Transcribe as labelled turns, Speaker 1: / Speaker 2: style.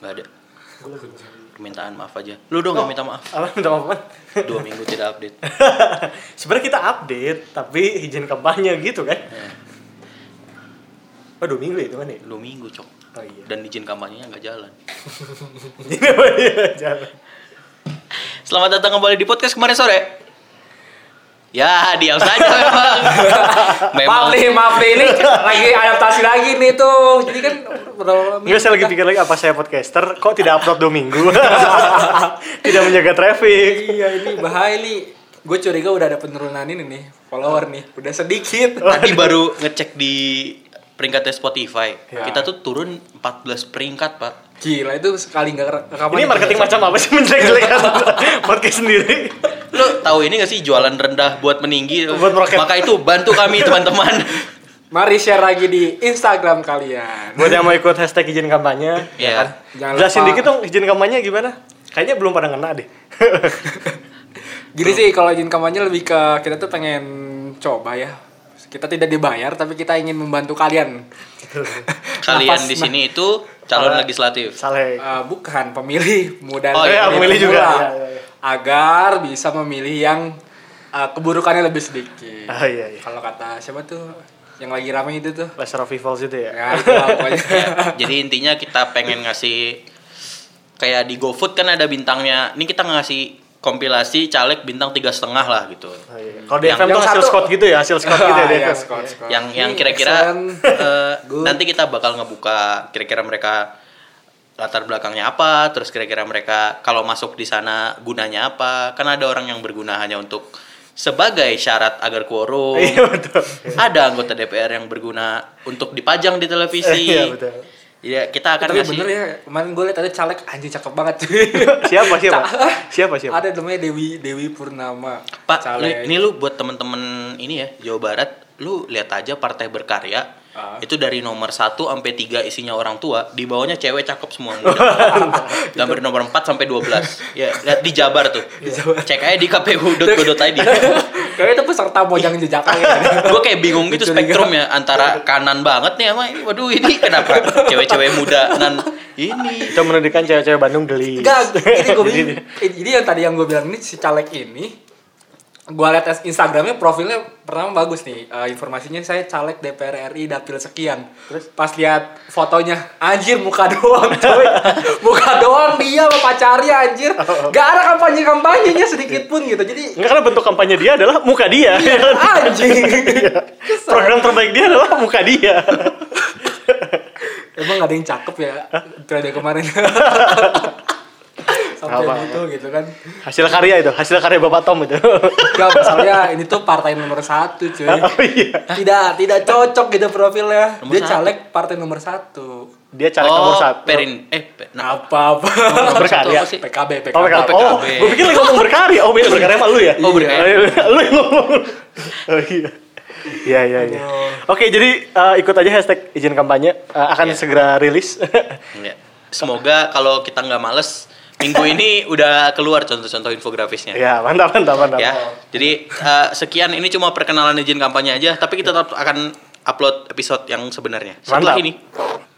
Speaker 1: nggak ada
Speaker 2: Gue lagi Oh.
Speaker 1: permintaan maaf aja lu dong nggak minta maaf
Speaker 2: Apa minta maaf apaan?
Speaker 1: dua minggu tidak update
Speaker 2: Sebenarnya kita update, tapi izin kampanye gitu kan.
Speaker 1: Ya,
Speaker 2: Oh, dua minggu ya itu kan ya?
Speaker 1: dua minggu cok
Speaker 2: Oh iya.
Speaker 1: dan izin kampanyenya nggak jalan
Speaker 2: Jadi apa dia iya, jalan?
Speaker 1: selamat datang kembali di podcast kemarin sore ya diam saja memang memang
Speaker 3: Maaf nih, maaf nih ini lagi adaptasi lagi nih tuh. Jadi kan berapa
Speaker 2: Enggak, saya lagi pikir lagi apa saya podcaster, kok tidak upload dua minggu? tidak menjaga traffic.
Speaker 3: Iya ini bahaya nih. Gue curiga udah ada penurunan ini nih follower nih. Udah sedikit.
Speaker 1: tadi baru ngecek di peringkatnya Spotify
Speaker 2: Iya.
Speaker 3: Ya.
Speaker 1: kita tuh turun 14 peringkat pak
Speaker 3: Gila itu sekali nggak rekaman.
Speaker 2: Ini marketing macam apa sih menjelek-jelekan podcast sendiri?
Speaker 1: lu tahu ini gak sih jualan rendah buat meninggi
Speaker 2: Buat meroket.
Speaker 1: maka itu bantu kami teman-teman
Speaker 3: Mari share lagi di Instagram kalian.
Speaker 2: Buat yang mau ikut hashtag izin kampanye,
Speaker 1: ya
Speaker 3: Jangan
Speaker 2: jelasin
Speaker 3: lupa.
Speaker 2: dikit dong izin kampanye gimana? Kayaknya belum pada ngena deh.
Speaker 3: Gini sih kalau izin kampanye lebih ke kita tuh pengen coba ya. Kita tidak dibayar tapi kita ingin membantu kalian.
Speaker 1: kalian
Speaker 3: Napas,
Speaker 2: nah.
Speaker 1: di sini itu calon legislatif
Speaker 2: Saleh.
Speaker 3: Eh, bukan pemilih muda
Speaker 1: Oh,
Speaker 3: dan
Speaker 1: iya,
Speaker 2: pemilih juga.
Speaker 3: pemula.
Speaker 2: Iya, iya, iya.
Speaker 3: agar bisa memilih yang eh, keburukannya lebih sedikit
Speaker 2: Ah iya iya.
Speaker 3: kalau kata siapa tuh yang lagi ramai itu tuh
Speaker 2: Lesser of Evils itu ya.
Speaker 3: ya itu lah pokoknya
Speaker 1: Ya, jadi intinya kita pengen ngasih kayak di GoFood kan ada bintangnya ini kita ngasih kompilasi caleg bintang tiga setengah lah gitu
Speaker 2: Oh, iya. Kalau di FM
Speaker 3: yang
Speaker 2: tuh hasil
Speaker 3: satu-
Speaker 2: squad gitu ya, hasil squad gitu ya. di FM.
Speaker 3: Ya, skor, skor.
Speaker 1: yang yang
Speaker 3: Ini
Speaker 1: kira-kira
Speaker 3: excellent.
Speaker 1: eh,
Speaker 3: Good.
Speaker 1: nanti kita bakal ngebuka kira-kira mereka latar belakangnya apa terus kira-kira mereka kalau masuk di sana gunanya apa kan ada orang yang berguna hanya untuk sebagai syarat agar quorum
Speaker 2: Iya betul.
Speaker 1: ada anggota DPR yang berguna untuk dipajang di televisi
Speaker 2: Iya betul.
Speaker 1: ya kita akan
Speaker 3: tapi
Speaker 1: ngasih
Speaker 3: bener ya kemarin gue liat ada caleg anjing cakep banget cuy.
Speaker 2: Siapa siapa?
Speaker 3: Ca-
Speaker 2: Siapa siapa?
Speaker 3: ada namanya Dewi Dewi Purnama
Speaker 1: Pak, lu- ini lu buat temen-temen ini ya Jawa Barat, lu lihat aja partai berkarya
Speaker 3: Ah.
Speaker 1: itu dari nomor 1 sampai 3 isinya orang tua, di bawahnya cewek cakep semua muda. Gambar nomor 4 sampai 12. Ya, lihat di Jabar tuh. Cek aja di kpu.go.id.
Speaker 3: kayaknya itu peserta mojang jejak Iya. aja.
Speaker 1: Gue kayak bingung gitu spektrumnya antara kanan banget nih sama ini. Waduh, ini kenapa cewek-cewek muda nan ini.
Speaker 2: Kita menunjukkan cewek-cewek Bandung geli.
Speaker 3: Enggak, ini
Speaker 2: Iya.
Speaker 3: gue
Speaker 2: Jadi-
Speaker 3: bilang, ini- ini yang tadi yang gue bilang ini si caleg ini, gue liat es- Instagramnya profilnya pertama bagus nih, Eh, informasinya saya caleg DPR RI dapil sekian. Terus pas lihat fotonya, anjir muka doang, coy. muka doang dia sama pacarnya anjir,
Speaker 2: Oh,
Speaker 3: gak ada kampanye kampanyenya sedikit pun gitu, jadi
Speaker 2: Enggak karena bentuk kampanye dia adalah muka dia.
Speaker 3: Iya. anjing.
Speaker 2: Iya. Program terbaik dia adalah muka dia.
Speaker 3: Emang gak ada yang cakep ya, periode kemarin. Sampai
Speaker 2: Apa?
Speaker 3: gitu gitu kan.
Speaker 2: Hasil karya itu, hasil karya Bapak Tom itu.
Speaker 3: Gak masalahnya ini tuh partai nomor satu cuy.
Speaker 2: oh iya.
Speaker 3: tidak tidak cocok gitu profilnya
Speaker 1: Nomor
Speaker 3: dia
Speaker 1: satu.
Speaker 3: caleg partai nomor satu
Speaker 2: Dia
Speaker 1: Oh,
Speaker 2: caleg nomor satu.
Speaker 1: Perin eh pe- nah,
Speaker 3: apa apa
Speaker 2: Berkarya.
Speaker 1: sih?
Speaker 3: PKB PKB
Speaker 2: Oh, PKB. Oh,
Speaker 1: PKB.
Speaker 2: gue pikir lagi ngomong berkarya. Oh, beda berkarya sama lu ya?
Speaker 1: Oh, berkarya.
Speaker 2: Iya, iya. Lu yang ngomong. Oh, iya. Iya, iya, iya. Oke, jadi eh, ikut aja hashtag izin kampanye. Eh, akan segera rilis.
Speaker 1: Ya. Semoga kalau kita nggak males minggu ini udah keluar contoh-contoh infografisnya. Ya.
Speaker 2: ya, mantap, mantap, mantap.
Speaker 1: Iya. Jadi eh, sekian ini cuma perkenalan izin kampanye aja, tapi kita tetap akan upload episode yang sebenarnya setelah
Speaker 2: Mantap.
Speaker 1: ini.